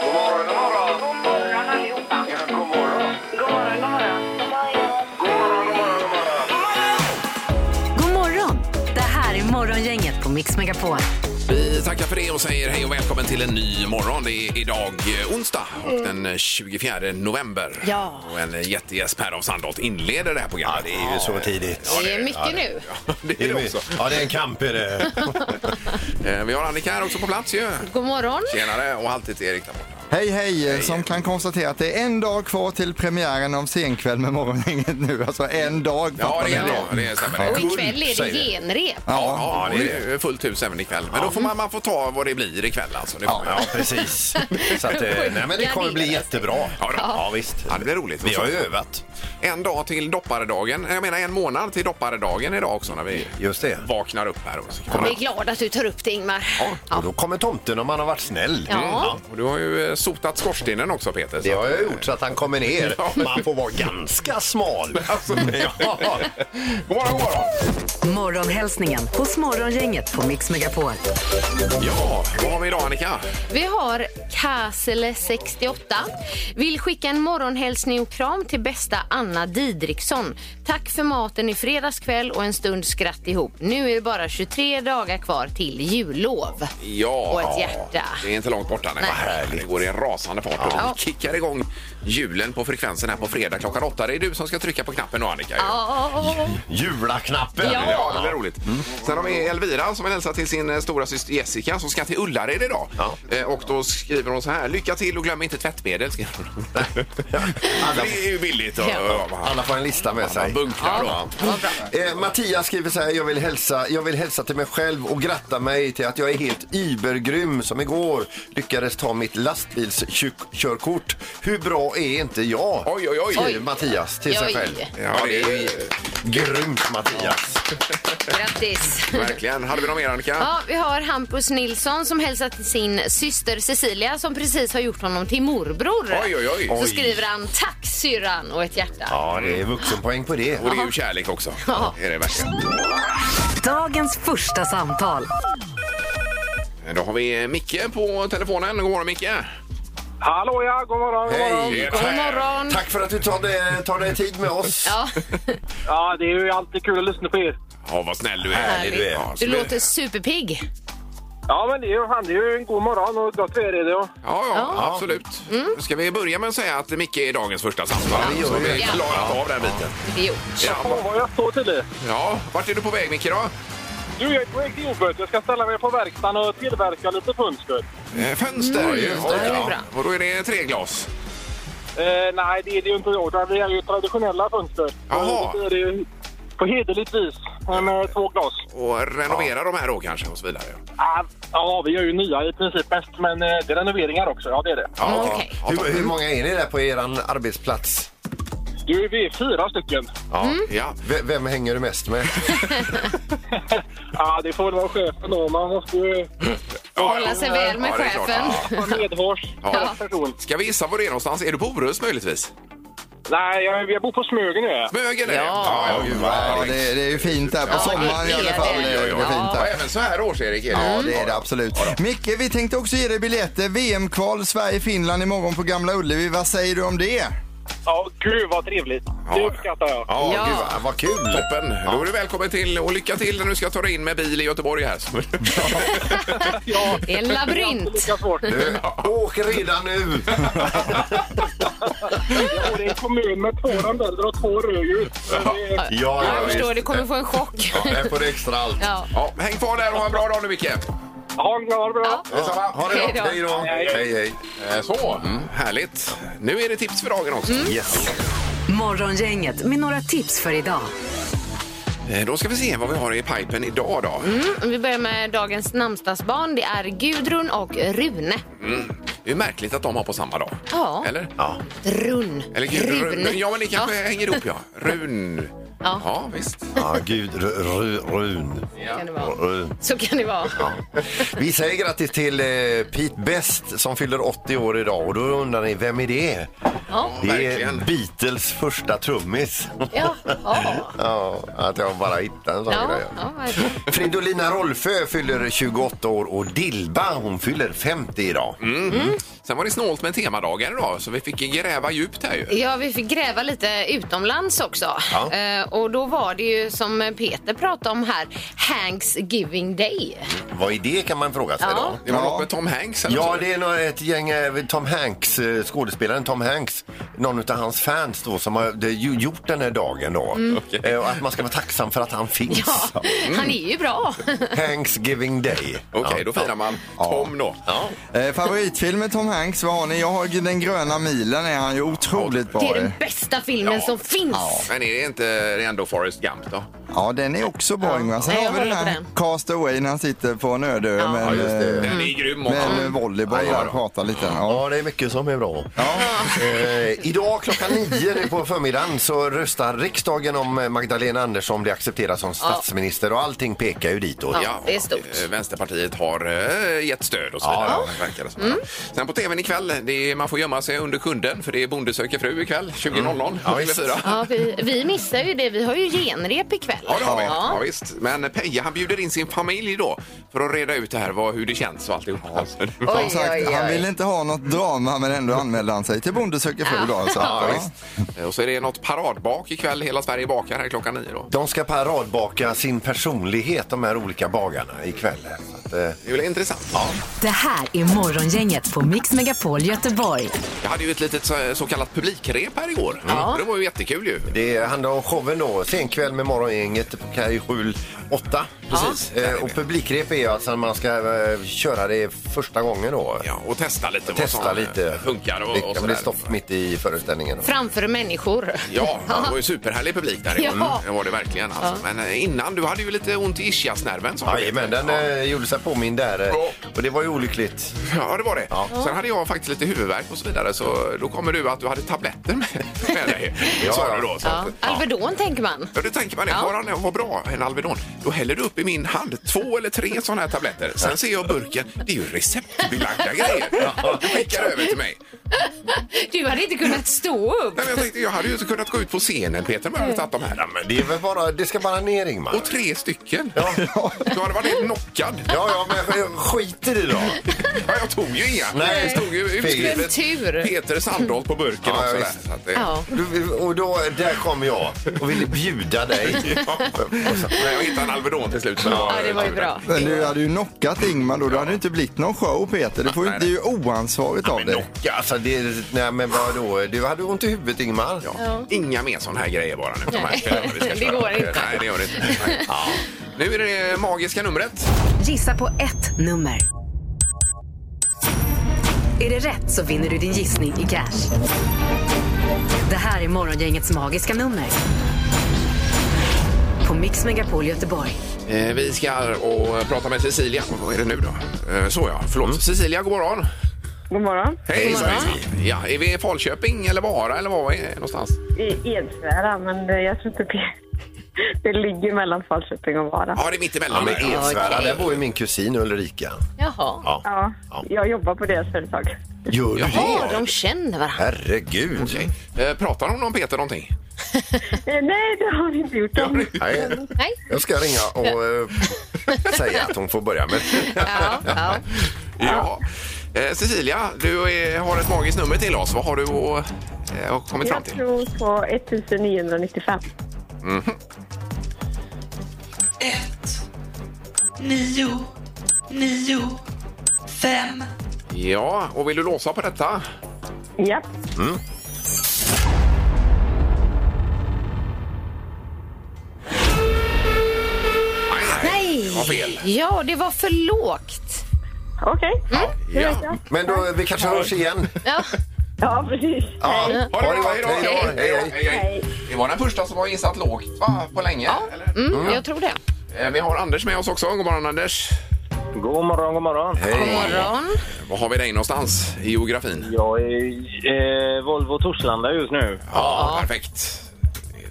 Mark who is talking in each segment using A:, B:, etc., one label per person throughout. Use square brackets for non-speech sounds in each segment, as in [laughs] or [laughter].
A: God morgon, god morgon.
B: God morgon allihopa.
A: Ja, god morgon.
B: God morgon, god morgon.
A: God morgon, god morgon, god morgon.
C: God morgon! Det här är Morgongänget på Mix Megapol.
D: Vi tackar för det och säger hej och välkommen till en ny morgon. Det är idag eh, onsdag och den 24 november.
E: Mm. Ja.
D: Och en jättegäst, Per af Sandholt, inleder det här programmet.
F: Det är ju så tidigt.
E: Det är mycket nu.
D: det är
F: Det är
D: det
F: vi-
D: också.
F: Ja, det är en kamp är det.
D: Eh, Vi har Annika här också på plats ju.
E: God morgon.
D: Tjenare och alltid Erik där borta.
G: Hej hej, som kan konstatera att det är en dag kvar till premiären av Senkväll med Morgongänget nu. Alltså en dag.
D: Ja,
G: fattar
D: det är
G: ni
D: bra. Det stämmer.
E: Och
D: det.
E: ikväll är det
F: säger vi.
E: genrep.
D: Ja, ja, det är fullt hus även ikväll. Men då får man, man får ta vad det blir ikväll alltså. Det får man.
F: Ja, precis. Så att, eh, nej, men det kommer bli jättebra.
D: Ja, då.
F: Ja, visst.
D: Ja, det blir roligt.
F: Vi har ju övat.
D: En dag till dopparedagen. Jag menar en månad till dopparedagen idag också när vi
F: Just det.
D: vaknar upp här. Och så kan
E: Jag
D: man...
E: är glad att du tar upp det Ingmar.
F: Och då kommer tomten om han har varit snäll. Mm,
E: Ja.
D: Och du har ju eh, sotat skorstenen också Peter.
F: Det har jag gjort så att han kommer ner.
D: Ja.
F: Man får vara ganska smal.
D: Alltså,
F: Ja.
D: God morgon, god morgon.
C: Morgonhälsningen hos Morgongänget på Mix Megapol.
D: Ja, vad har vi idag Annika?
E: Vi har Kasele68. Vill skicka en morgonhälsning och kram till bästa Anna Didriksson. Tack för maten i fredags kväll och en stund skratt ihop. Nu är det bara 23 dagar kvar till jullov.
D: Ja,
E: Och ett hjärta.
D: det är inte långt borta. Nej.
E: Nej.
D: Vad härligt. Det går i en rasande fart. och
E: Ja.
D: Vi kickar igång julen på frekvensen här på fredag klockan åtta. Det är du som ska trycka på knappen då Annika.
E: Ja,
F: [laughs] Julaknappen.
E: Ja.
D: Ja, det blir roligt.
F: Mm.
D: Sen har vi Elvira som vill hälsa till sin eh, stora syster Jessica som ska till Ullared idag.
F: Ja.
D: Eh, Och då skriver hon så här. Lycka till och glöm inte tvättmedel. skriver hon. [laughs]
F: Alla,
D: Det är ju billigt. Och,
E: Ja.
F: alla får en lista med sig.
D: Man bunkrar då.
F: Eh, Mattias skriver så här, jag vill, hälsa, jag vill hälsa till mig själv och gratta mig till att jag är helt übergrym som igår lyckades ta mitt lastbilskörkort. Hur bra är inte jag?
D: Oj, oj, oj.
F: Skriver Mattias till sig
E: Oj.
F: själv.
D: Ja, det är ju
F: Grymt Mattias!
E: grattis.
D: verkligen. Hade vi någon mer Annika?
E: Ja, vi har Hampus Nilsson som hälsar till sin syster Cecilia som precis har gjort honom till morbror.
D: Oj, oj, oj.
E: Så
F: Oj.
E: skriver han tack syrran och ett hjärta.
F: Ja, det är vuxenpoäng på det.
D: Och det är ju kärlek också.
E: Ja.
D: Det är det verkligen.
C: Dagens första samtal.
D: Då har vi eh, Micke på telefonen. God morgon Micke!
A: Hallå, ja. God morgon, god morgon.
F: Hej!
E: God morgon.
F: Tack för att du tar dig, tar dig tid med oss.
E: Ja,
A: Ja, det är ju alltid kul att lyssna på er.
D: Ja, vad snäll du
F: Härligt.
D: är.
F: du är.
D: Ja, så
E: du
D: vi-
E: låter superpigg.
A: Ja, men det är ju, fan, det är ju en god morgon och gott väder är det. Och...
D: Ja, ja, absolut. Ska vi börja med att säga att Micke är dagens första samtal?
F: Ja, det gör
D: så vi
F: vi.
D: har klarat av den biten.
E: Det är gjort.
D: Ja,
A: Åh, vad jag står till det.
D: ja, vart är du på väg Micke då?
A: Du, jag är på väg till jobbet. Jag ska ställa mig på verkstaden och tillverka lite fönster.
D: Eh, Fönster. Ja,
E: det är
D: ja.
E: bra.
D: Och då är det treglas.
A: Eh, nej, det är det ju inte jag. utan Det är ju traditionella fönster.
D: Jaha.
A: Det är det ju på hederligt vis eh, med två glas.
D: Och renovera de här då kanske och så vidare.
A: Ah, Ja, vi gör ju nya i princip bäst, men eh, det är renoveringar också. Ja, det är det.
D: Ja,
E: Mm,
D: ja.
E: okej.
D: Ja,
F: Hur, hur många är ni där på er arbetsplats?
A: Du, vi är fyra stycken. [laughs]
D: ja. ja.
F: V- vem hänger du mest med?
A: Ja, det får väl vara chefen då. Man måste ju
D: Ja,
E: Hålla
D: ja.
E: sig väl med
D: Ja, det är klart.
E: chefen.
D: Ja.
A: vara medhårs
D: Ja.
A: person.
D: Ska vi gissa var det är någonstans? Är du på Orust möjligtvis?
A: Nej, jag, jag bor på Smögen nu. jag.
D: Mögen är det.
E: Ja.
D: ja, gud, vad
G: Ja,
D: härligt.
G: det, det är ju fint där på sommaren i alla fall.
E: det.
G: Det är det
D: Ja,
G: fint
D: ja,
G: där.
D: Även så här års, Erik. Är det.
G: Ja, det är det absolut. Micke, vi tänkte också ge dig biljetter. VM-kval Sverige-Finland imorgon på Gamla Ullevi. Vad säger du om det?
A: Ja, gud vad trevligt. Det
D: Ja.
A: uppskattar jag.
D: Ja,
E: Ja.
D: gud,
F: Gud, vad kul!
D: Toppen! Då är du välkommen till och lycka till när du ska ta dig in med bil i Göteborg här.
A: Ja,
E: Det är en
A: det är inte
E: labyrint.
A: lika svårt.
F: Du, åk redan nu!
A: Jag bor i en kommun med två rondeller och två rödljus. Så det är-
F: Ja,
E: Jag förstår, du kommer få en chock.
F: Ja, här får du extra allt.
E: Ja.
D: Ja, häng kvar där och ha en bra dag nu Micke!
A: Ha en glad bra.
F: Detsamma. Ha det
E: Hej då.
F: gott. Hej då.
A: Hej.
F: Hej, hej.
D: Eh, Så, härligt. Nu är det tips för dagen
F: Mm.
D: också.
F: Yes.
C: Morgongänget med några tips för idag.
D: Eh, Då ska vi se vad vi har i pipen idag då.
E: Mm, Vi börjar med dagens namnsdagsbarn. Det är Gudrun och Rune.
D: Det är märkligt att de har på samma dag.
E: Ja.
D: Eller?
F: Ja.
E: Run.
D: Eller Rune. Ja, men det kanske hänger ihop ja. Run.
E: Ja.
D: Ja, visst.
F: Ja, gud. Ru- ru- Run.
E: Kan det vara.
F: Run.
E: Så kan det vara.
F: Vi säger grattis till eh, Pete Best som fyller 80 år idag och då undrar ni, vem är det?
E: Ja.
F: Det
D: verkligen.
F: är Beatles första trummis.
E: Ja. Ja.
F: Ja, att jag bara hittade en sån
E: Ja.
F: grej.
E: ja, verkligen.
F: Fridolina Rolfö fyller 28 år och Dilba hon fyller 50 idag.
D: Sen var det snålt med temadagar idag, så vi fick gräva djupt här ju.
E: Ja, vi fick gräva lite utomlands också.
F: Ja.
E: Eh, och då var det ju som Peter pratade om här, Thanksgiving Day.
F: Vad är det kan man fråga sig
E: Ja.
F: då?
D: Det var
G: Ja.
D: något med Tom Hanks eller
F: Ja,
D: så.
F: det är nog ett gäng eh, Tom Hanks, eh, skådespelaren Tom Hanks, någon av hans fans då som har det, ju- gjort den här dagen då. Eh, Och att man ska vara tacksam för att han finns.
E: Ja, han är ju bra.
F: Thanksgiving Day.
D: Okej, då firar man Tom då. Ja.
G: Eh, favoritfilm med Tom Hanks, vad har ni? Jag har Den gröna milen, är han ju otroligt
E: Det
G: bra
E: är
G: i.
E: den bästa filmen
D: Ja.
E: som finns.
D: Men är det inte det är ändå Forrest Gump då?
E: Mm.
G: Ja, den är också bra Ingvar. Sen
E: Nej,
G: har vi
E: jag
G: den
E: håller
G: här
E: på den.
G: Cast Away när han sitter på en öde ö med,
F: just det.
G: eh,
D: Den är grym
G: med
D: också.
G: en volleyboll där och pratar lite. Ja.
F: Ja, det är mycket som är bra. Eh, idag klockan nio nu på förmiddagen så röstar riksdagen om eh, Magdalena Andersson blir accepterad som statsminister och allting pekar ju ditåt.
E: Ja. det är stort.
D: och, eh, Vänsterpartiet har eh, gett stöd och så vidare. Verkar det som.
E: Mm.
D: Sen på tvn ikväll, det är, man får gömma sig under kunden för det är Bonde söker fru ikväll 20.00 på TV4.
E: Mm. Ja, vi, vi missar ju det. Vi har ju genrep ikväll.
D: Ja, det har vi. Ja.
E: Ja.
D: visst. Men Peje han bjuder in sin familj då för att reda ut det här, vad, hur det känns och alltihop. Alltså, det var-
G: Som sagt, han vill inte ha något drama men ändå anmälde han sig till Bonde söker fru då. Alltså.
D: Ah. Ja,
G: Ja.
D: visst. Och så är det något paradbak ikväll, hela Sverige bakar här klockan nio då.
F: De ska paradbaka sin personlighet, de här olika bagarna, ikväll. Så att, eh,
D: Det är väl intressant.
C: Det här är Morgongänget på Mix Megapol Göteborg.
D: Jag hade ju ett litet så, så kallat publikrep här igår. Det var ju jättekul ju.
F: det handlar om showen då, senkväll med morgongänget på Kaj 7, 8.
D: Precis.
F: Eh, och publikrep är ju alltså när man ska eh, köra det första gången då.
D: Ja, och testa lite
F: Testa
D: vad som eh,
F: lite.
D: funkar och,
F: Det
D: och
F: kan bli
D: sådär.
F: stopp mitt i föreställningen.
E: Framför människor. [laughs]
D: Ja, det var ju superhärlig publik där igår.
E: Ja.
D: Det var det verkligen. Alltså. Men eh, innan, du hade ju lite ont i ischiasnerven. som du vet.
F: Jajamän, den eh, gjorde sig påmind där. eh,
D: Ja.
F: Och det var ju olyckligt.
D: Ja, det var det. Sen hade jag faktiskt lite huvudvärk och så vidare. Så då kommer du att du hade tabletter med, [laughs] med dig.
F: Ja,
D: sa
F: ja.
D: du då. Så
E: Ja.
D: att, ja.
E: Alvedon tänker man.
D: Ja, då tänker man det.
E: Ja.
D: Bara när jag var bra, en Alvedon, då häller du upp i min hand två eller tre sådana här tabletter. Sen ser jag burken, det är ju receptbelagda grejer. Du skickar över till mig.
E: Du hade inte kunnat stå upp.
D: Nej, men jag tänkte, jag hade ju inte kunnat gå ut på scenen Peter om jag hade tagit de här.
F: Men det, är väl bara, det ska bara ner, Ingmar.
D: Och tre stycken. Du hade varit helt knockad.
F: Ja, ja, men jag- jag skiter i det då.
D: Ja, jag tog ju inga.
F: Nej.
D: Det stod ju
E: Vilken
D: utskrivet
E: tur.
D: Peter Sandholt på burken
F: Ja,
D: också.
F: ja,
D: Där.
F: visst.
D: Så att det,
E: typ- Ja.
F: Du, och då, där kom jag och ville
D: [laughs]
F: bjuda dig.
D: Men jag hittade en Alvedon till slut. så
E: ja, det var ju bra.
G: Men du hade ju knockat Ingmar då, då hade det inte blivit någon show Peter. Det, får ju,
D: Nej,
G: det är ju oansvarigt av dig.
F: Ja, Alltså, det, nej, men vadå? Du hade ont i huvudet, Ingmar.
D: Ja. Inga mer sån här grejer bara nu. på de här
E: Nej.
D: kvällarna vi ska
E: [laughs] Det
D: köra.
E: går inte.
D: Nej, det gör det inte. Nej. Ja. Nu är det det magiska numret.
C: Gissa på ett nummer. Är det rätt så vinner du din gissning i cash. Det här är Morgongängets magiska nummer. På Mix Megapol Göteborg.
D: Eh, Vi ska och prata med Cecilia. Vad är det nu då? Eh, Så ja, förlåt.
F: Mm.
D: Cecilia, god morgon.
H: God morgon.
D: Hej, hejsan. Ja, är vi i Falköping eller Vara eller var är vi någonstans?
H: I Edsvära, men det- jag tror inte det. Det ligger mellan Falköping och Vara.
D: Ja, det är mitt
F: Ja,
D: emellan.
F: men
D: där.
F: Edsvära, där bor ju min kusin Ulrika.
E: Jaha.
H: Ja, jag jobbar på deras företag.
F: Gör du
E: Ja,
F: det?
E: de känner varandra.
F: Herregud.
D: Okej. Eh, Pratar hon om Peter någonting?
H: Eh, Nej, det har vi inte gjort. Om.
F: Nej,
E: Nej.
F: jag ska ringa och eh, säga att hon får börja med.
E: Ja, ja.
D: [laughs] Ja. Eh, Cecilia, du är, har ett magiskt nummer till oss. Vad har du att, eh, har kommit fram
H: Jag
D: till?
H: tror på 1995.
I: nio, nio, fem,
D: Ja, och vill du låsa på detta?
H: Ja,
D: Vad fel.
E: ja, det var för lågt.
H: okej.
D: Ja.
F: Men då, vi kanske hörs igen.
E: Ja.
H: Ja, precis.
D: Ha det bra, hej då!
F: Hej då, hej, hej.
D: Det var den första som har gissat lågt va? på länge. eller?
E: Mm, jag tror det.
D: Eh, Vi har Anders med oss också. God morgon Anders!
A: God morgon, god morgon.
E: God morgon.
D: Var har vi dig någonstans i geografin?
A: Jag är i eh, Volvo Torslanda just nu.
D: Ja, perfekt.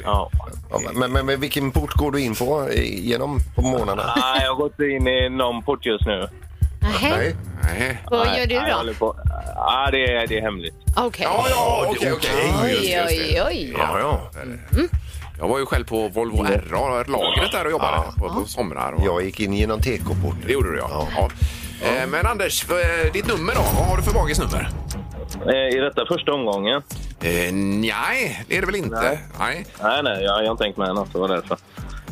A: Ja.
F: Ja, men, men, men vilken port går du in på eh, genom på morgnarna?
I: Ah.
A: Nej, jag har gått in i någon port just nu.
E: Nähä,
F: Nej.
D: Nej.
E: vad
A: Nej,
E: gör du
A: nej, jag
E: då?
A: håller på. Ja, det är, det är hemligt.
E: Okej.
D: Ja, ja, okej, okej. Just
E: Oj,
D: det, just
E: oj,
D: det.
E: oj.
D: Ja, ja. Mm. Jag var ju själv på Volvo RR-lagret där och jobbade på, på somrar. Och...
F: Jag gick in genom tekoport.
D: Det gjorde du, ja. ja. Eh, Men Anders, eh, ditt nummer då? Vad har du för bagis nummer?
A: Eh, I detta första omgången?
D: Eh, nej, det är det väl inte? Nej.
A: Nej, nej, jag, jag har inte tänkt med något. Det var därför.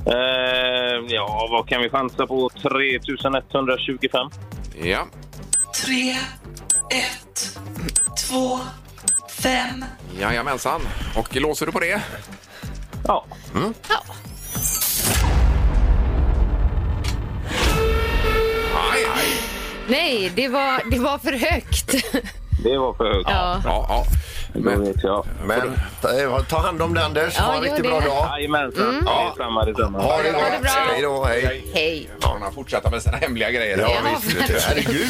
A: Eh, ja, vad kan vi chansa på? 3125?
D: Ja.
I: tre, ett, två, fem.
D: Jajamensan. Och låser du på det?
A: Ja.
D: Nej.
E: Nej, det var, det var för högt. [laughs]
A: Det var för högt.
E: Ja.
D: Ja, ja.
A: Då
D: Men,
A: vet jag.
F: Men ta, ta hand om dig Anders.
E: Ja,
F: ha en
E: gör
F: riktigt
E: det.
F: bra dag.
A: Jajamensan. Ja. Detsamma, detsamma.
F: Ha det
E: det
F: bra.
E: bra.
F: Hej då. Hej.
E: Hej.
D: han har fortsatt med sina hemliga grejer.
F: Ja,
E: Ja,
F: visst. Herregud.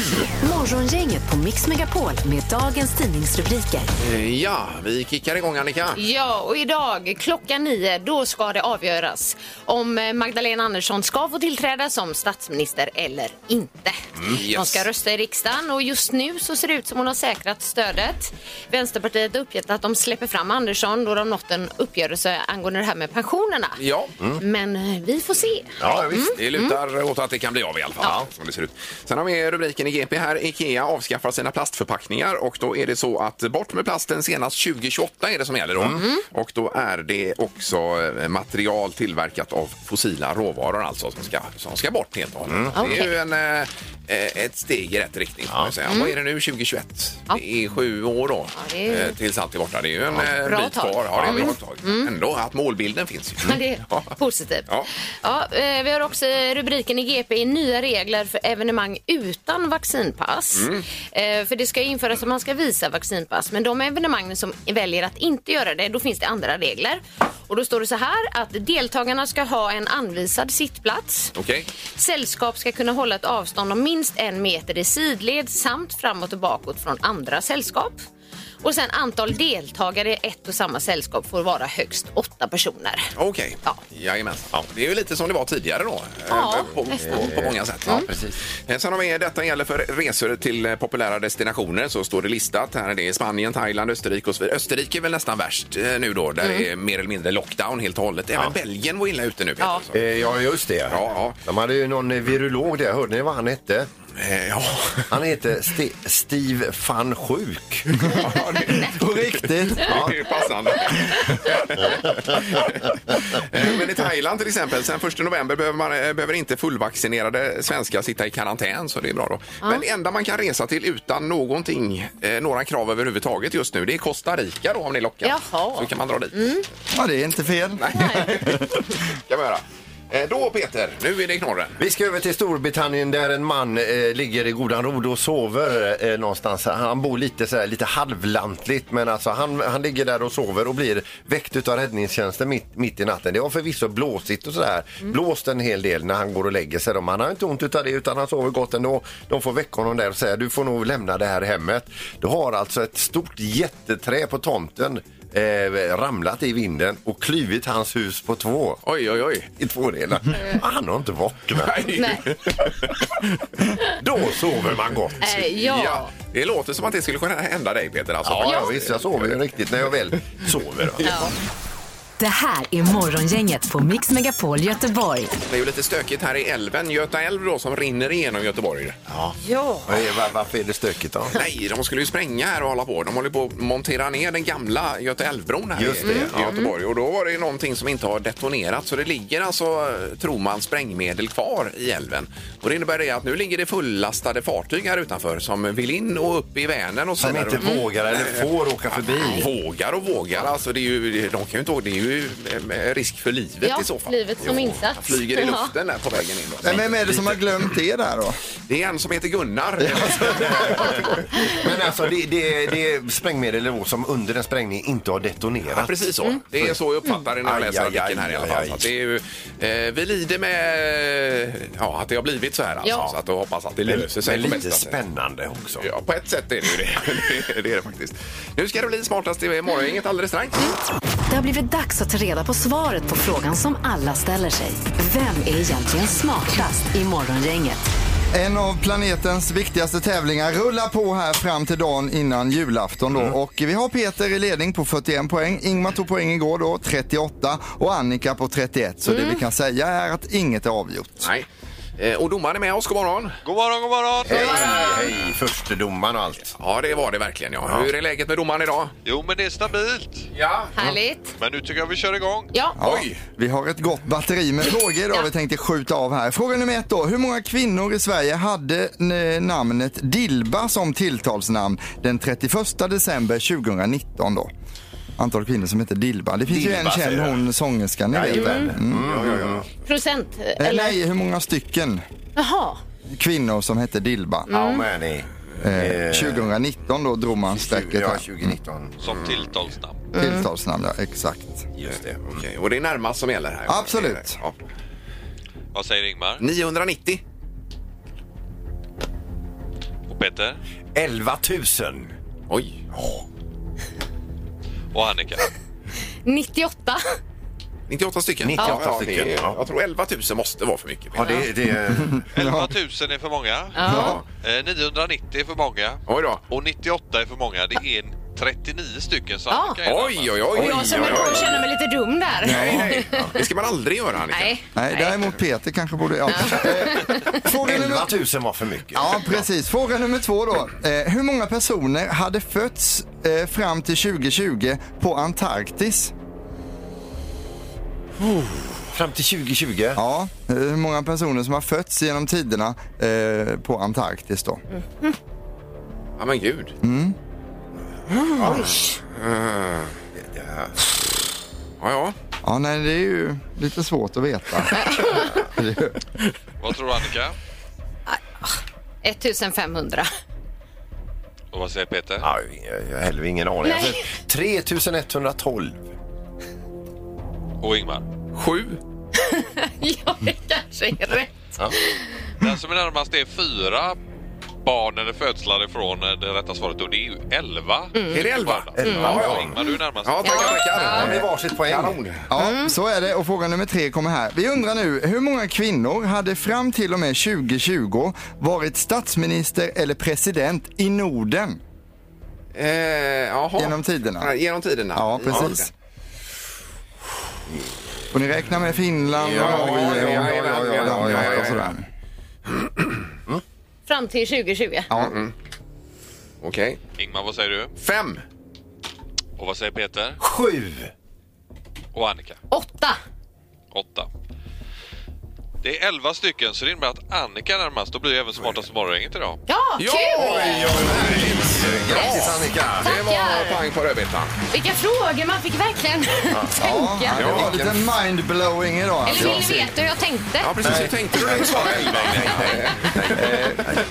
C: Morgongänget på Mix Megapol med dagens tidningsrubriker.
D: Eh, [laughs] Ja, vi kickar igång Annika.
E: Ja, och idag klockan nio, då ska det avgöras om eh, Magdalena Andersson ska få tillträda som statsminister eller inte.
D: Mm. yes.
E: De ska rösta i riksdagen och just nu så ser det ut som hon har säkrat stödet. Vänsterpartiet har uppgett att de släpper fram Andersson då de nått en uppgörelse angående det här med pensionerna.
D: Ja.
E: Men eh, vi får se.
D: Ja, visst.
E: Mm.
D: Det lutar åt att det kan bli av i alla fall. Som det ser ut. Sen har vi rubriken i GP här. Ikea avskaffar sina plastförpackningar och då är det så att bort med plasten senast 2028 är det som gäller då.
E: Mm.
D: Och då är det också eh, material tillverkat av fossila råvaror alltså som ska, som ska bort helt och hållet.
E: Mm.
D: Det är ju en, eh, ett steg i rätt riktning. Ja. Säga. Vad är det nu 2021? Det är sju år då
E: Mm. det är-
D: eh, tills allt är borta. Det är ju en eh,
E: Bra
D: bit
E: tag.
D: kvar. Ja, det är ett bra tag. Ändå att målbilden finns
E: [laughs]
D: ju.
E: Men det är
D: [laughs] Ja.
E: positivt.
D: Ja.
E: Ja, eh, vi har också rubriken i GP, nya regler för evenemang utan vaccinpass.
D: Mm.
E: Eh, För det ska införas att man ska visa vaccinpass, men de evenemangen som väljer att inte göra det, då finns det andra regler. Och då står det så här att deltagarna ska ha en anvisad sittplats.
D: Okej.
E: Sällskap ska kunna hålla ett avstånd om minst en meter i sidled samt framåt och bakåt från andra sällskap. Och sen antal deltagare i ett och samma sällskap får vara högst åtta personer.
D: Okej.
E: Ja.
D: Jajamensan. Det är ju lite som det var tidigare då.
E: Ja, Mm.
D: Eh, på, på, på många sätt. Ja, precis. Eh, Sen har vi detta gäller för resor till eh, populära destinationer så står det listat. Här är det Spanien, Thailand, Österrike och så vidare. Österrike är väl nästan värst eh, nu då där
E: Mm.
D: det är mer eller mindre lockdown helt och hållet. Även Belgien var illa ute nu. Peter,
E: Ja.
D: så.
F: Eh, Ja, just det.
D: ja.
F: De hade ju någon eh, virolog där. Hörde ni vad han hette?
D: Eh, ja.
F: Han heter Ste- Steve van Sjuk.
D: ja det,
G: På riktigt.
D: Det är passande. Eh, Men i Thailand till exempel, sen 1 november behöver, man, eh, behöver inte fullvaccinerade svenskar sitta i karantän, så det är bra då. Men det enda man kan resa till utan någonting, eh, några krav överhuvudtaget just nu, det är Costa Rica då om ni lockar.
E: Jaha.
D: Så kan man dra dit.
G: Ja, det är inte fel.
D: [laughs] kan man göra. Eh, Då Peter, nu är det knorren.
F: Vi ska över till Storbritannien där en man eh, ligger i godan ro och sover eh, någonstans. Han bor lite, så här, lite halvlantligt men alltså han, han ligger där och sover och blir väckt av räddningstjänsten mitt, mitt i natten. Det har förvisso blåsigt och sådär. Blåst en hel del när han går och lägger sig. då. Men han har inte ont utav det utan han sover gott ändå. De får väcka honom där och säga du får nog lämna det här hemmet. Du har alltså ett stort jätteträ på tomten eh, ramlat i vinden och klivit hans hus på två
D: Oj, oj, oj.
F: i två delar. Han har inte vaknat.
D: Nej. [laughs]
F: Då sover man gott.
E: Eh,
D: Ja,
E: ja.
D: det låter som att det skulle kunna hända dig Peter. Alltså.
F: Ja, ja, visst, jag sover ju riktigt när jag väl sover.
C: Det här är Morgongänget på Mix Megapol Göteborg.
D: Det är ju lite stökigt här i älven, Göta älv då, som rinner igenom Göteborg.
E: ja.
F: Vad är- var- eh, Varför är det stökigt då?
D: Nej, de skulle ju spränga här och hålla på. De håller på att montera ner den gamla Göta älvbron här
F: Just
D: i,
F: det,
D: i Göteborg. Och då var det ju någonting som inte har detonerat. Så det ligger alltså, tror man, sprängmedel kvar i älven. Och det innebär det att nu ligger det fullastade fartyg här utanför som vill in och upp i Vänern och så
F: Som
D: där.
F: inte vågar eller får åka förbi.
D: Vågar och vågar. Alltså det är ju, de kan ju inte åka. Det är ju eh, risk för livet
E: Ja,
D: i så fall.
E: livet som
D: Jo,
E: insats.
D: han Flyger i
E: Ja.
D: luften där på vägen in. då.
G: Men vem är det som har glömt det där då?
D: Det är en som heter
F: [laughs]
D: Gunnar.
F: Men alltså, det, det, det är sprängmedel eller vad som under en sprängning inte har
D: Ja,
F: detonerat.
D: precis så. Det är så jag uppfattar det när jag
F: Aj,
D: läser
F: aj,
D: artikeln här
F: aj,
D: i alla fall.
F: aj.
D: Så att det är ju, eh, vi lider med eh, ja, att det har blivit så här alltså.
E: Ja.
D: Så att jag hoppas att det löser sig
F: Men
D: på
F: lite
D: bästa sätt.
F: spännande också.
D: Ja, på [laughs] ett sätt är det ju det. det, är det faktiskt. Nu ska det bli smartast i morgongänget alldeles strax.
C: Det Det har blivit dags att ta reda på svaret på frågan som alla ställer sig. Vem är egentligen smartast i Morgongänget?
G: En av planetens viktigaste tävlingar rullar på här fram till dagen innan julafton
D: Mm.
G: då. Och vi har Peter i ledning på 41 poäng. Ingmar tog poäng igår då, 38. Och Annika på 31. Så
D: Mm.
G: det vi kan säga är att inget är avgjort.
D: Nej. Eh, Och domaren är med oss, god morgon.
J: God morgon, god morgon!
F: Hej, eh, hej, förstedomaren och allt.
D: Ja, det var det verkligen. Ja. Hur är läget med domaren idag?
J: Jo, men det är stabilt.
D: Ja.
E: Härligt.
J: Men nu tycker jag vi kör igång.
E: Ja.
G: Ja,
D: Oj.
G: vi har ett gott batteri med frågor idag vi tänkte skjuta av här. Fråga nummer ett då. Hur många kvinnor i Sverige hade eh, namnet Dilba som tilltalsnamn den 31 december 2019 då? Antal kvinnor som heter Dilba. Det finns ju en
F: Dilba,
G: känd
F: säger jag.
G: hon sångerskan ni vet. väl? Mm.
E: Procent?
G: Eh,
E: Eller?
G: Nej, hur många stycken
E: Jaha.
G: kvinnor som hette Dilba?
F: How many?
G: Eh, 2019 då drog man strecket
F: Ja, Mm.
G: här.
F: 2019.
D: Mm.
J: Som tilltalsnamn.
G: Tilltalsnamn, ja exakt.
F: Just det. Mm.
D: Okej, och det är närmast som gäller här.
G: Absolut.
D: Ja.
J: Vad säger Ingmar?
D: 990.
J: Och Peter?
F: 11 000.
D: Oj.
J: Och Annika?
E: 98?
D: 98 stycken.
F: 98
D: ja, ja,
F: stycken,
D: Det,
F: ja.
D: jag tror 11 000 måste vara för mycket.
F: Ja, det, det,
J: 11 000 är för många.
E: Ja.
J: Eh, 990 är för många.
D: Oj då.
J: Och 98 är för många. Det är 39 stycken som
E: Ja.
J: Annika är
D: Oj, oj, oj.
E: Och jag som är på och känner mig lite dum där.
D: Nej, nej. Ja, Det ska man aldrig göra, Annika.
E: Nej.
G: Nej, däremot Peter kanske
F: [laughs]
G: borde... Ja. Eh, Fråga nummer
F: 11 000 var för mycket.
G: Ja, precis. Fråga nummer två då. Eh, hur många personer hade fötts eh, fram till 2020 på Antarktis?
F: Fram till 2020.
G: Ja, eh, hur många personer som har fötts genom tiderna eh, på Antarktis då?
D: Ja, men gud.
F: Mm.
D: Ah. Ja, ja.
G: Ja, nej, det är ju lite svårt att veta.
J: Vad tror Annika?
E: 1500. [laughs]
J: Och vad säger Peter?
F: Ja, jag jag har heller ingen aning.
E: Nej.
F: Alltså, 3112.
J: Och Ingmar?
D: Sju.
E: Ja, det kanske är rätt.
J: Den som är närmast är fyra barn eller födslar ifrån eh, det rätta svaret och det är ju 11.
D: Är det 11?
F: Ja,
J: Och Ingmar,
F: Mm.
J: du är närmast.
D: Ja, tackar,
F: Har
D: tackar.
F: ni varsitt poäng?
D: Kanon.
G: Ja, så är det. Och fråga nummer tre kommer här. Vi undrar nu, hur många kvinnor hade fram till och med 2020 varit statsminister eller president i Norden
D: Eh, jaha.
G: genom tiderna?
D: Ja, Genom tiderna?
G: Ja, precis. Får ni räkna med Finland
D: Ja, ja,
G: Norge
D: ja,
G: och-
D: ja, ja, ja, ja,
G: ja,
D: ja,
G: ja,
D: ja.
G: och sådär.
E: Fram till 2020.
G: Ja,
D: Okej.
J: Ingmar, vad säger du?
D: Fem.
J: Och vad säger Peter?
F: Sju.
J: Och Annika?
E: 8.
J: åtta. Det är 11 stycken, så det innebär att Annika är närmast. Då blir jag även smartast i morgongänget idag.
E: Ja,
D: Ja,
E: kul!
D: oj, oj, oj.
F: Grattis Annika!
D: Det
E: Tackar.
D: var pang på rödbetan.
E: Vilka frågor man fick verkligen [laughs]
G: ja,
E: tänka.
G: det var lite mindblowing idag.
E: Eller
G: Alltså.
E: vill ni veta hur jag tänkte?
D: Ja, precis. Hur tänkte du när du svarade elva?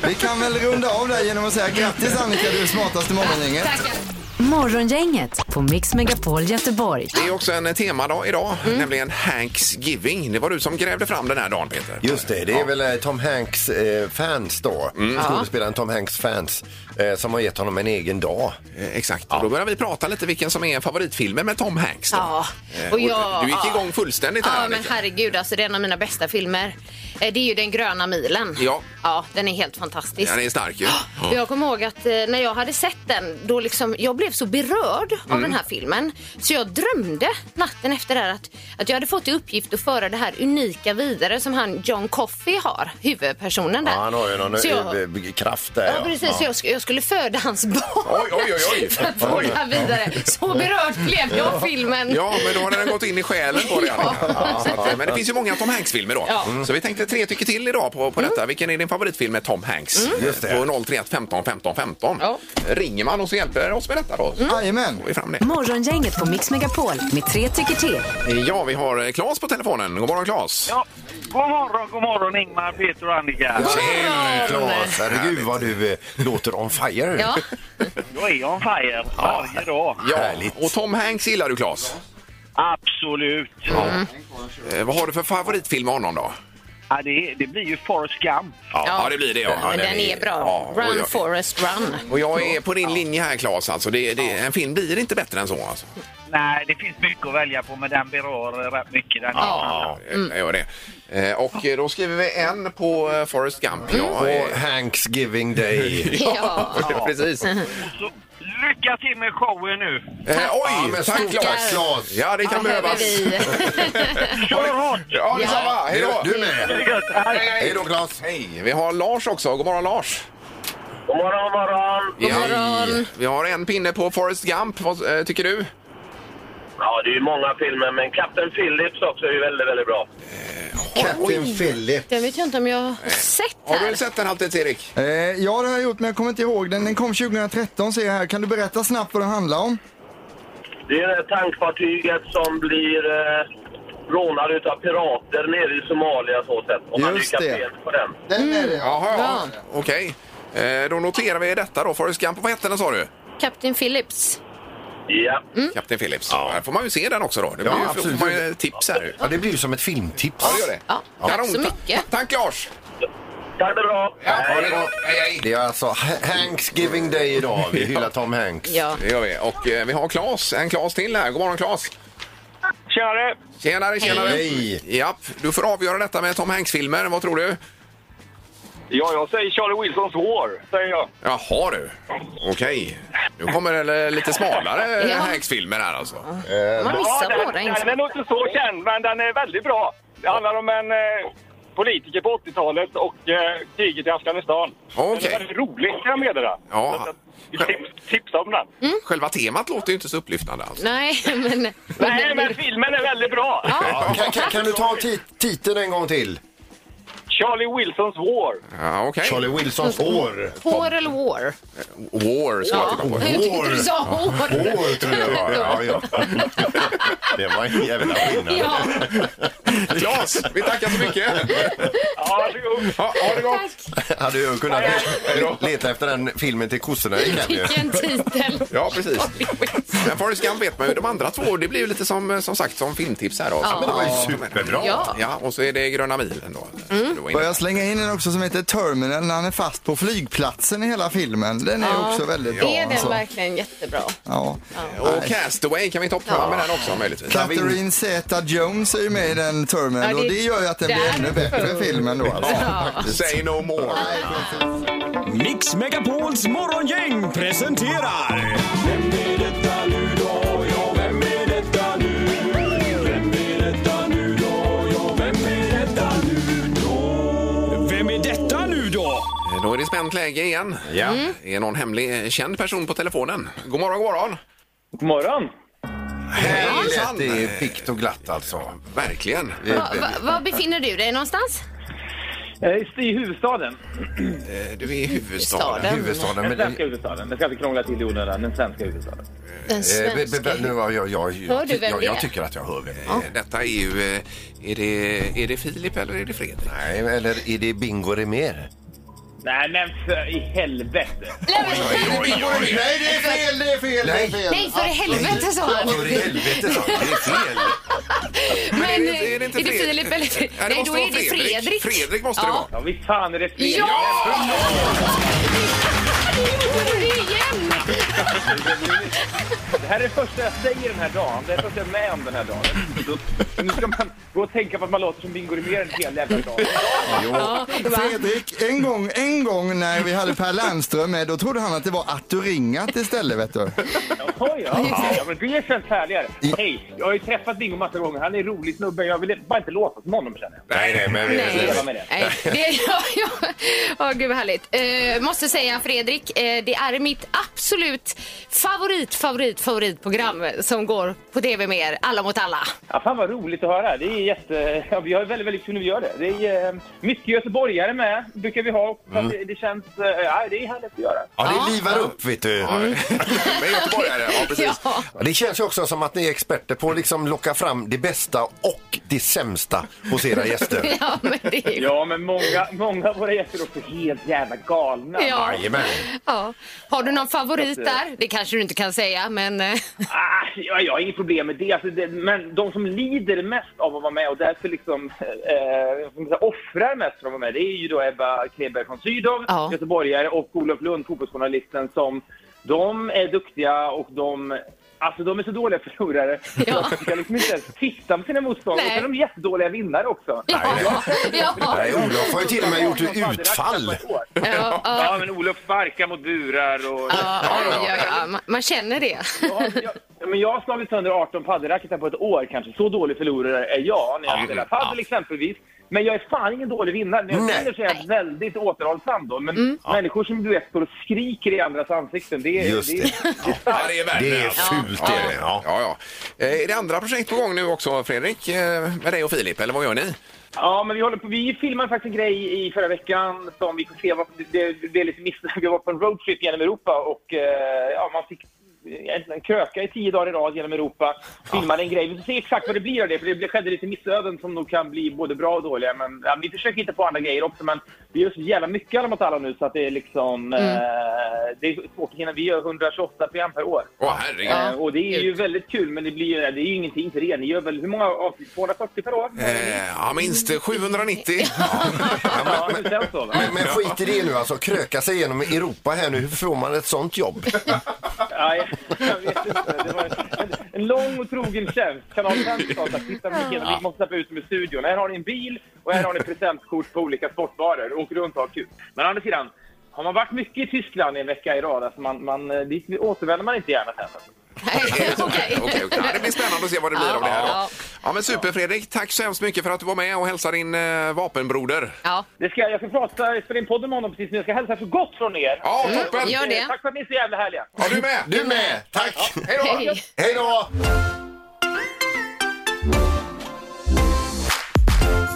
G: Vi kan väl runda av där genom att säga grattis Annika, du är smartast i morgongänget.
E: Tackar.
C: Morgongänget på Mix Megapol Göteborg.
D: Det är också en temadag idag,
E: Mm.
D: nämligen Thanksgiving. Det var du som grävde fram den här dagen, Peter.
F: Just det, det är väl eh, Tom Hanks eh, fans då. Skådespelaren Tom Hanks fans eh, som har gett honom en egen dag.
D: Eh, Exakt. Då börjar vi prata lite vilken som är favoritfilmen med Tom Hanks. Då.
E: Ja,
D: Eh,
E: och jag...
D: Du gick igång fullständigt här.
E: Ja, men
D: Annika.
E: herregud, alltså det är en av mina bästa filmer. Eh, Det är ju Den gröna milen.
D: Ja.
E: Ja, den är helt fantastisk.
D: Den är stark ju.
E: Och Jag kommer ihåg att eh, när jag hade sett den, då liksom, jag blev så berörd
D: Mm.
E: av den här filmen. Så jag drömde natten efter det här att, att jag hade fått i uppgift att föra det här unika vidare som han John Coffey har, huvudpersonen
F: Ja,
E: där.
F: han har ju någon
E: Så jag,
F: eh, b- kraft där.
E: Ja, precis. Så Jag, sk- jag skulle föda hans barn.
D: Oj, oj, oj,
E: [laughs]
D: oj.
E: För att få det här vidare. Så berörd blev jag av filmen.
D: Ja, men då har den gått in i själen på dig. Annika. Ja. så att, eh, Men det finns ju många Tom Hanks-filmer då. Mm.
E: Ja.
D: Så vi tänkte tre tycker till idag på, på detta. Vilken är din favoritfilm med Tom Hanks?
F: Just det.
D: På 031 15 15 15.
E: Ja.
D: Ringer man och så hjälper oss med detta då.
G: Mm.
D: Så
G: Jajamän.
D: får vi fram det.
C: Morgongänget på Mix Megapol med tre tycker till.
D: Ja, vi har eh, Claes på telefonen. God morgon Claes!
I: Ja. God morgon, god morgon Ingmar, Peter och Annika.
F: Tjena Claes! Herregud vad du eh, låter on fire.
E: Ja.
I: Jag är on fire varje dag.
D: Ja,
F: Härligt.
D: och Tom Hanks gillar du Claes.
I: Absolut.
D: Eh, vad har du för favoritfilm med honom då?
I: Ja, det, det blir ju Forrest Gump.
D: Ja, det blir det ja.
E: Men den är bra.
D: Ja, och
E: Run
D: jag-
E: Forrest Run.
D: Och jag är på din linje här Claes alltså. Det, det, En film blir inte bättre än så alltså.
I: Nej, det finns mycket att välja på, men den berör rätt mycket. Den
D: Ja, jag gör det. Eh, Och eh, då skriver vi en på eh, Forrest Gump. Ja, eh,
F: Och Thanksgiving [laughs] Day.
E: Ja.
D: [laughs] ja, precis.
I: Så, lycka till med showen nu!
D: Eh,
F: Ja,
D: oj,
F: men
D: tack
F: stort tack,
D: Claes!
F: Claes.
D: Ja, det kan behövas.
I: Kör hårt!
D: Ja, detsamma. Hej då!
F: Du, du med.
I: Det är gött. Hej.
F: Hej då, Claes.
D: Hej! Vi har Lars också. God morgon, Lars!
I: God morgon, morgon!
D: God Vi har en pinne på Forrest Gump. Vad eh, tycker du?
I: Ja, det är ju många filmer, men Captain Phillips också är ju väldigt, väldigt bra.
F: Captain Philip.
E: Den vet jag inte om jag har sett
D: Har du
E: här.
D: sett den halvtids Erik?
G: Eh, ja, det har jag gjort, men jag kommer inte ihåg den. Den kom 2013, ser jag här. Kan du berätta snabbt vad den handlar om?
I: Det är det här tankfartyget som blir eh, rånad utav pirater nere i Somalia så sett. Och han
G: Just
I: lyckas
G: det.
I: fel på den.
G: Den är det,
D: Jaha, ja. Okej. Eh, Då noterar vi detta då. Forrest Gump, vad hette den sa du?
E: Captain Phillips.
I: Ja.
D: Kapten Phillips. Här får man ju se den också då. Det blir ju,
F: absolut.
D: får man ju tips här.
F: Ja, det blir ju som ett filmtips.
D: Ja, det gör det.
E: Ja, tack så mycket.
D: Tack Lars!
I: Tack det bra!
D: Ja, ha det bra. Hej, hej.
F: Det är alltså Ha- Thanksgiving Day idag. Vi hyllar Tom Hanks.
E: Ja.
D: Det gör vi. Och eh, vi har Claes, en Claes till här. God morgon Claes!
I: Tjenare!
D: Tjenare, tjenare!
F: Hej.
D: Japp, du får avgöra detta med Tom Hanks-filmer. Vad tror du?
I: Ja, jag säger Charlie Wilsons hår, säger jag.
D: Jaha du. Okej. Nu kommer det lite [laughs] smalare
E: Ja.
D: Hanks-filmer här alltså.
E: Man missar några
I: den är
E: inslag.
I: nog inte så känd, men den är väldigt bra. Det handlar om en eh, politiker på 80-talet och eh, kriget i Afghanistan. Den
D: Okej.
I: är väldigt rolig, kan jag meddela.
D: Ja.
I: Så att vi tips- Tipsa om den.
D: Själva temat låter ju inte så upplyftande alltså.
E: [laughs] Nej, men...
I: Nej, men filmen är väldigt bra!
E: Ja,
F: Kan, kan, kan du ta ti- titeln en gång till?
I: Charlie Wilsons War.
D: Ja, okej.
F: Charlie Wilsons år.
E: Hår eller war?
D: War, så
E: Ja.
D: jag
E: Jag tyckte [laughs] du sa hår.
F: År tror jag det var. Ja, ja. [laughs] Det var en jävla skillnad.
E: Ja,
D: Claes, vi tackar så mycket!
I: Ja, varsågod.
D: Ha, ha det gott!
F: Hade jag kunnat leta efter den filmen till kossorna i kan ju.
E: vilken titel.
D: Ja,
E: [laughs]
D: precis. Men Forrest Gump vet man ju. De andra två, det blir ju lite som, som sagt som filmtips här då.
E: Ja. Men det var
F: ju superbra.
E: Ja.
D: Ja, och så är det Gröna milen då. Du var
G: Får
D: inne
G: jag slänga in en också som heter Terminal när han är fast på flygplatsen i hela filmen. Den är också väldigt bra.
E: Är den
G: alltså.
E: verkligen jättebra?
G: ja.
D: på. Och Castaway kan vi toppa med den också möjligtvis.
G: Catherine Zeta-Jones är ju med i den Terminal
E: Ja, det-
G: och det gör ju att den
E: där
G: blir ännu bättre
E: får-
G: filmen då. Alltså.
D: Say no more.
K: Mix Megapols morgongäng presenterar... Vem är detta nu då? Ja, vem är detta nu? Vem är detta nu då? Ja, vem är detta nu då? Vem är detta nu då?
D: Då är det spänt läge igen. Ja. Är någon hemlig eh, känd person på telefonen? God morgon, god morgon!
I: God morgon.
D: Hejsan.
F: Det är pikt och glatt alltså.
D: Verkligen.
E: Va, va, var befinner du dig någonstans?
I: Just i huvudstaden.
D: Eh, Du är i huvudstaden.
E: Staden.
F: Huvudstaden.
I: Den
F: Men,
I: svenska huvudstaden. Den ska inte krångla till i onödan. Den svenska huvudstaden.
E: Den
F: eh, be- be-
E: svenska.
F: be- nu, har jag, jag,
E: Hör
F: jag,
E: du vem
F: jag,
E: det
F: jag
E: är?
F: tycker att jag hör vem det
D: Eh, Detta är ju... eh, Är det, är det Filip eller är det Fredrik?
F: är. Nej, Eller är det Bingo Rimér?
I: Nej, men för i helvete.
F: Nej, det är fel, det är fel, det är fel.
E: Nej, för i helvete sa han.
F: För i helvete sa jag. Det är fel.
E: Men
D: det-
E: eh, är det
D: Fred-
E: Filip eller
D: Nej,
E: Fredrik?
D: det
E: Nej,
D: måste
E: då är
D: vara
E: det Fredrik.
D: Fredrik måste det
E: Ja.
D: vara.
I: Ja, visst fan är det fel.
E: Ja! Du gjorde [laughs] det igen!
I: Det här är det första jag säger den här dagen. Det är det första jag är med om den här
E: [laughs]
I: dagen. Då- Nu ska man gå och tänka på att man låter som Bingo Rimér en hel jävla dag.
G: Fredrik, en gång, en gång när vi hade Per Lernström med, då trodde han att det var att du ringat istället vet du.
I: Jaha, ja. ja. men det känns härligare. Hej, jag har ju träffat Bingo massa gånger. Han är en rolig snubbe. Jag ville bara inte låtsas som honom, känner jag.
F: Nej, nej, men...
I: leva
E: Nej,
I: med det.
E: nej. Det, [laughs] ja, ja. Åh, gud vad härligt. Eh, måste säga Fredrik, eh, det är mitt absolut favorit, favorit, favoritprogram som går på tv med er, Alla mot alla. [laughs]
I: Ja, fan vad roligt att höra. Det är jätte... Ja, vi har väldigt, väldigt kul när vi gör det. Det är eh, mycket göteborgare med, brukar vi ha. Så att det, det känns... eh, Ja, det är härligt att göra.
F: Ja, det livar upp, vet du. [laughs]
D: Men göteborgare, ja precis.
E: Mm. Ja.
F: Ja, Det känns ju också som att ni är experter på att liksom locka fram det bästa och det sämsta hos era
E: [laughs]
F: gäster.
E: Ja, men det är...
I: Ja, men många, många av våra gäster är också helt jävla galna.
E: Ja.
F: Jajamän.
E: Ja. Har du någon favorit där? Det kanske du inte kan säga, men... eh,
I: Ah, ja, jag har inget problem med det. Alltså, det. Men de som lider mest av att vara med och därför liksom, eh, som säga, offrar mest för att vara med, det är ju då Ebba Kreberg från Sydow,
E: Ja.
I: göteborgare, och Olof Lund, fotbollsjournalisten, som de är duktiga och de Alltså de är så dåliga förlorare.
E: [laughs] Ja.
I: De ska liksom inte ens titta på sina motståndare.
E: Nej.
I: utan De är jättedåliga vinnare också.
E: [laughs] Ja.
F: Nej, Olof har ju till och med gjort
I: Som hade
F: utfall.
I: rätt på ett år.
E: Ja,
I: Ja,
E: ja,
I: men Olof sparkar mot burar och...
E: ja, ja, ja. Man- Man känner det.
I: Ja, jag- men jag har slagit sönder 18 paddelracketar på ett år kanske. Så dålig förlorare är jag när jag
D: Ja,
I: spelar
D: ja.
I: paddel exempelvis. Men jag är fan ingen dålig vinnare. När jag
F: Nej.
I: vinner så är jag väldigt återhållsam då. Men människor som du vet står och skriker i andras ansikten, det är...
F: Just det.
D: Ja, det är
F: Det är
D: värdelöst.
F: fult det är det. Ja.
D: Ja, ja. Eh, Är det andra projekt på gång nu också, Fredrik? eh, Med dig och Filip, eller vad gör ni?
I: Ja, men vi håller på. Vi filmade faktiskt en grej i förra veckan som vi får se vad... Det, det blev lite miss... Vi var på en roadtrip genom Europa och eh, ja, man fick egentligen kröka i tio dagar i rad genom Europa. Filmade en grej. Vi får se exakt vad det blir av det, för det skedde lite missöden som nog kan bli både bra och dåliga. Men ja, vi försöker hitta på andra grejer också, men vi gör så jävla mycket alla mot alla nu så att det är liksom... Eh, det är svårt att hinna. Vi gör 128 program per år.
D: Åh, herregud.
E: Ja.
I: Eh, och det är ju väldigt kul, men det blir ju, det är ju ingenting till er. Ni gör väl, hur många avsnitt? 240 per år?
D: Eh, Ja, minst 790.
I: Ja, det känns så. Va?
F: Men, men skit i det nu alltså, kröka sig igenom Europa här nu, hur får man ett sånt jobb?
I: Ja, jag, jag vet inte. Det var en, en lång och trogen tjänst. Kanal 5 sa att titta Mikael, vi måste släppa ut dem i studion. Här har ni en bil och här har ni presentkort på olika sportbarer. Åk runt och ha kul. Men å andra sidan, har man varit mycket i Tyskland i en vecka i rad, alltså man, man, eh, dit återvänder man inte gärna sen.
E: Nej,
D: Okej, okej. Ja, Det blir spännande att se vad det blir av det här. Då.
E: Ja.
D: Ja, men super, Fredrik. Tack så hemskt mycket för att du var med och hälsade din eh, vapenbroder.
E: Ja,
I: Det ska, jag- jag ska prata, jag spelar in podden med honom precis nu. Jag ska hälsa så gott från er.
D: Ja,
F: Mm.
D: toppen!
E: gör det.
I: Eh, Tack för att ni är så jävla härliga.
D: Ja, du med!
F: Du med, tack!
E: hej.
F: Hej då!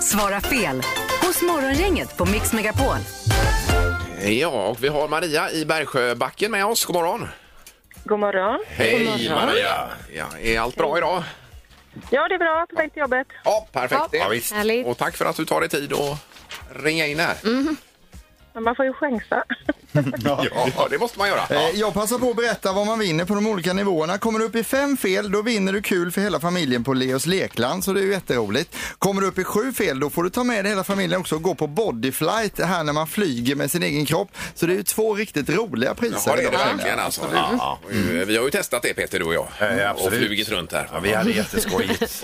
C: Svara fel hos Morgongänget på Mix Megapol.
D: Ja, och vi har Maria i Bergsjöbacken med oss. God morgon!
H: God morgon.
D: Hej Maria! Ja, är allt bra idag?
H: Ja, det är bra. På väg till jobbet.
D: Ja, perfekt. det.
F: Ja, visst.
E: Härligt.
D: Och tack för att du tar dig tid att ringa in här.
F: Mm.
H: Men man får ju chansa. [laughs]
D: Ja, det måste man göra.
G: Eh, Jag passar på att berätta vad man vinner på de olika nivåerna. Kommer du upp i fem fel, då vinner du kul för hela familjen på Leos Lekland, så det är ju jätteroligt. Kommer du upp i sju fel, då får du ta med dig hela familjen också och gå på bodyflight, här när man flyger med sin egen kropp. Så det är ju två riktigt roliga priser.
D: Ja, det är det
G: idag.
D: verkligen alltså. Ja, ja. Vi har ju testat det Peter, du och jag.
F: Mm. Eh, absolut.
D: Och flugit runt här.
F: Ja, vi hade jätteskojigt.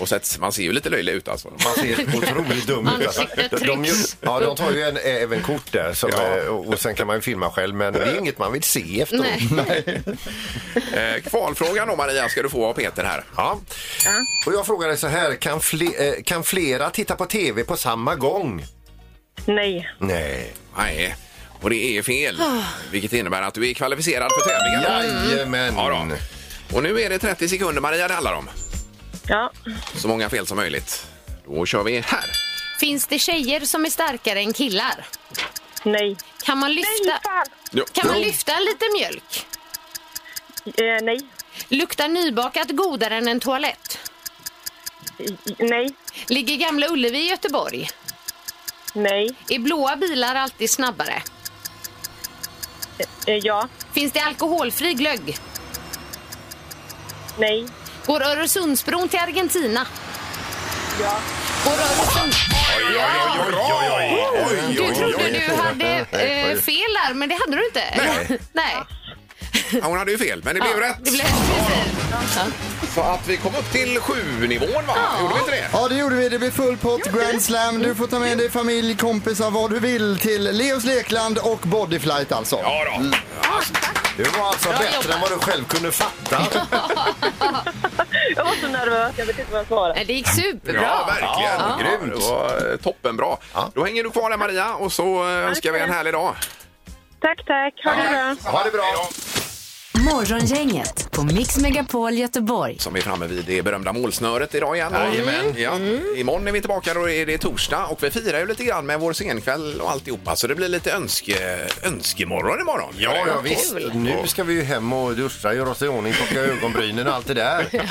D: [laughs] Och sett, man ser ju lite löjlig ut alltså.
F: Man ser otroligt dum ut. alltså.
E: Ansiktet
F: De, ju-
E: trycks.
F: ja, de tar ju en, eh, även kort där som,
D: Ja.
F: eh, och och sen kan man ju filma själv men det är inget man vill se efteråt.
E: Nej.
D: Eh, kvalfrågan då Maria ska du få av Peter här.
F: Ja. Och jag frågade så här, kan, fle, eh, kan flera titta på tv på samma gång?
H: Nej.
F: Nej.
D: Nej, och det är fel. Vilket innebär att du är kvalificerad för tävlingen.
F: Jajamän.
D: Ja, då. Och nu är det 30 sekunder Maria det handlar om.
H: Ja.
D: Så många fel som möjligt. Då kör vi här.
E: Finns det tjejer som är starkare än killar?
H: Nej.
E: Kan man lyfta,
H: fan!
D: Jo.
E: kan man lyfta lite mjölk?
H: Eh, nej.
E: Luktar nybakat godare än en toalett?
H: I- Nej.
E: Ligger Gamla Ullevi i Göteborg?
H: Nej.
E: Är blåa bilar alltid snabbare?
H: Eh, ja.
E: Finns det alkoholfri glögg?
H: Nej.
E: Går Öresundsbron till Argentina?
H: Ja.
E: Går Öresund...
D: Oj, oj, oj, oj, oj,
E: Du
D: oj,
E: trodde
D: oj.
E: du hade eh, fel där, men det hade du inte.
D: Nej.
E: [laughs] Nej.
D: Ja, Hon hade ju fel, men det
E: Ja,
D: blev rätt.
E: Det blev precis. Ja.
D: Så att vi kom upp till sju nivån va? Gjorde vi inte det?
G: Ja, det gjorde vi. Det blir full pott, grand slam. Du får ta med dig familj, kompisar, vad du vill till Leos Lekland och bodyflight alltså.
D: Ja då.
F: Du var alltså
E: Bra
F: bättre
E: jobbat.
F: än vad du själv kunde
E: [laughs]
F: fatta.
H: Jag var så nervös. Jag vet inte vad jag svarade.
E: Nej, Det gick superbra.
D: Ja, verkligen.
F: Ja.
D: Grymt. Det var eh, toppenbra.
F: Ja.
D: Då hänger du kvar där Maria och så eh, önskar vi en härlig dag.
H: Tack, tack. Ha det bra.
F: Ha det bra.
C: Morgongänget på Mix Megapol Göteborg.
D: Som är framme vid det berömda målsnöret idag igen. Mm.
F: Jajamän. Mm.
D: Ja. Imorgon är vi tillbaka, då är det torsdag och vi firar ju lite grann med vår scenkväll och alltihopa så det blir lite önske, önskemorgon imorgon.
F: Ja, ja, visst. Nu ska vi ju hem och duscha, göra oss i ordning, plocka ögonbrynen och allt det där.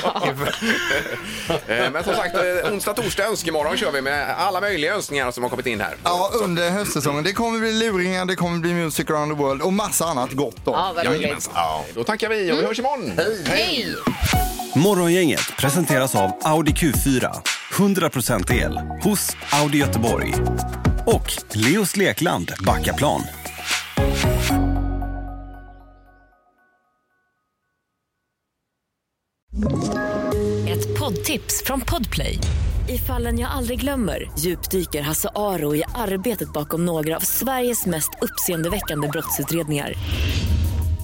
F: [laughs]
D: Eh, Men som sagt, eh, onsdag, torsdag, önskemorgon kör vi med alla möjliga önskningar som har kommit in här.
G: Ja, under höstsäsongen. Det kommer bli luringar, det kommer bli music around the world och massa annat gott då.
E: Ja, vad roligt.
D: Jajamensan. Då tackar vi och vi hörs imorgon.
E: Hej!
K: Morgongänget presenteras av Audi Q4. 100% el hos Audi Göteborg. Och Leos Lekland Backaplan.
C: Ett poddtips från Podplay. I fallen jag aldrig glömmer djupdyker Hasse Aro i arbetet bakom några av Sveriges mest uppseendeväckande brottsutredningar.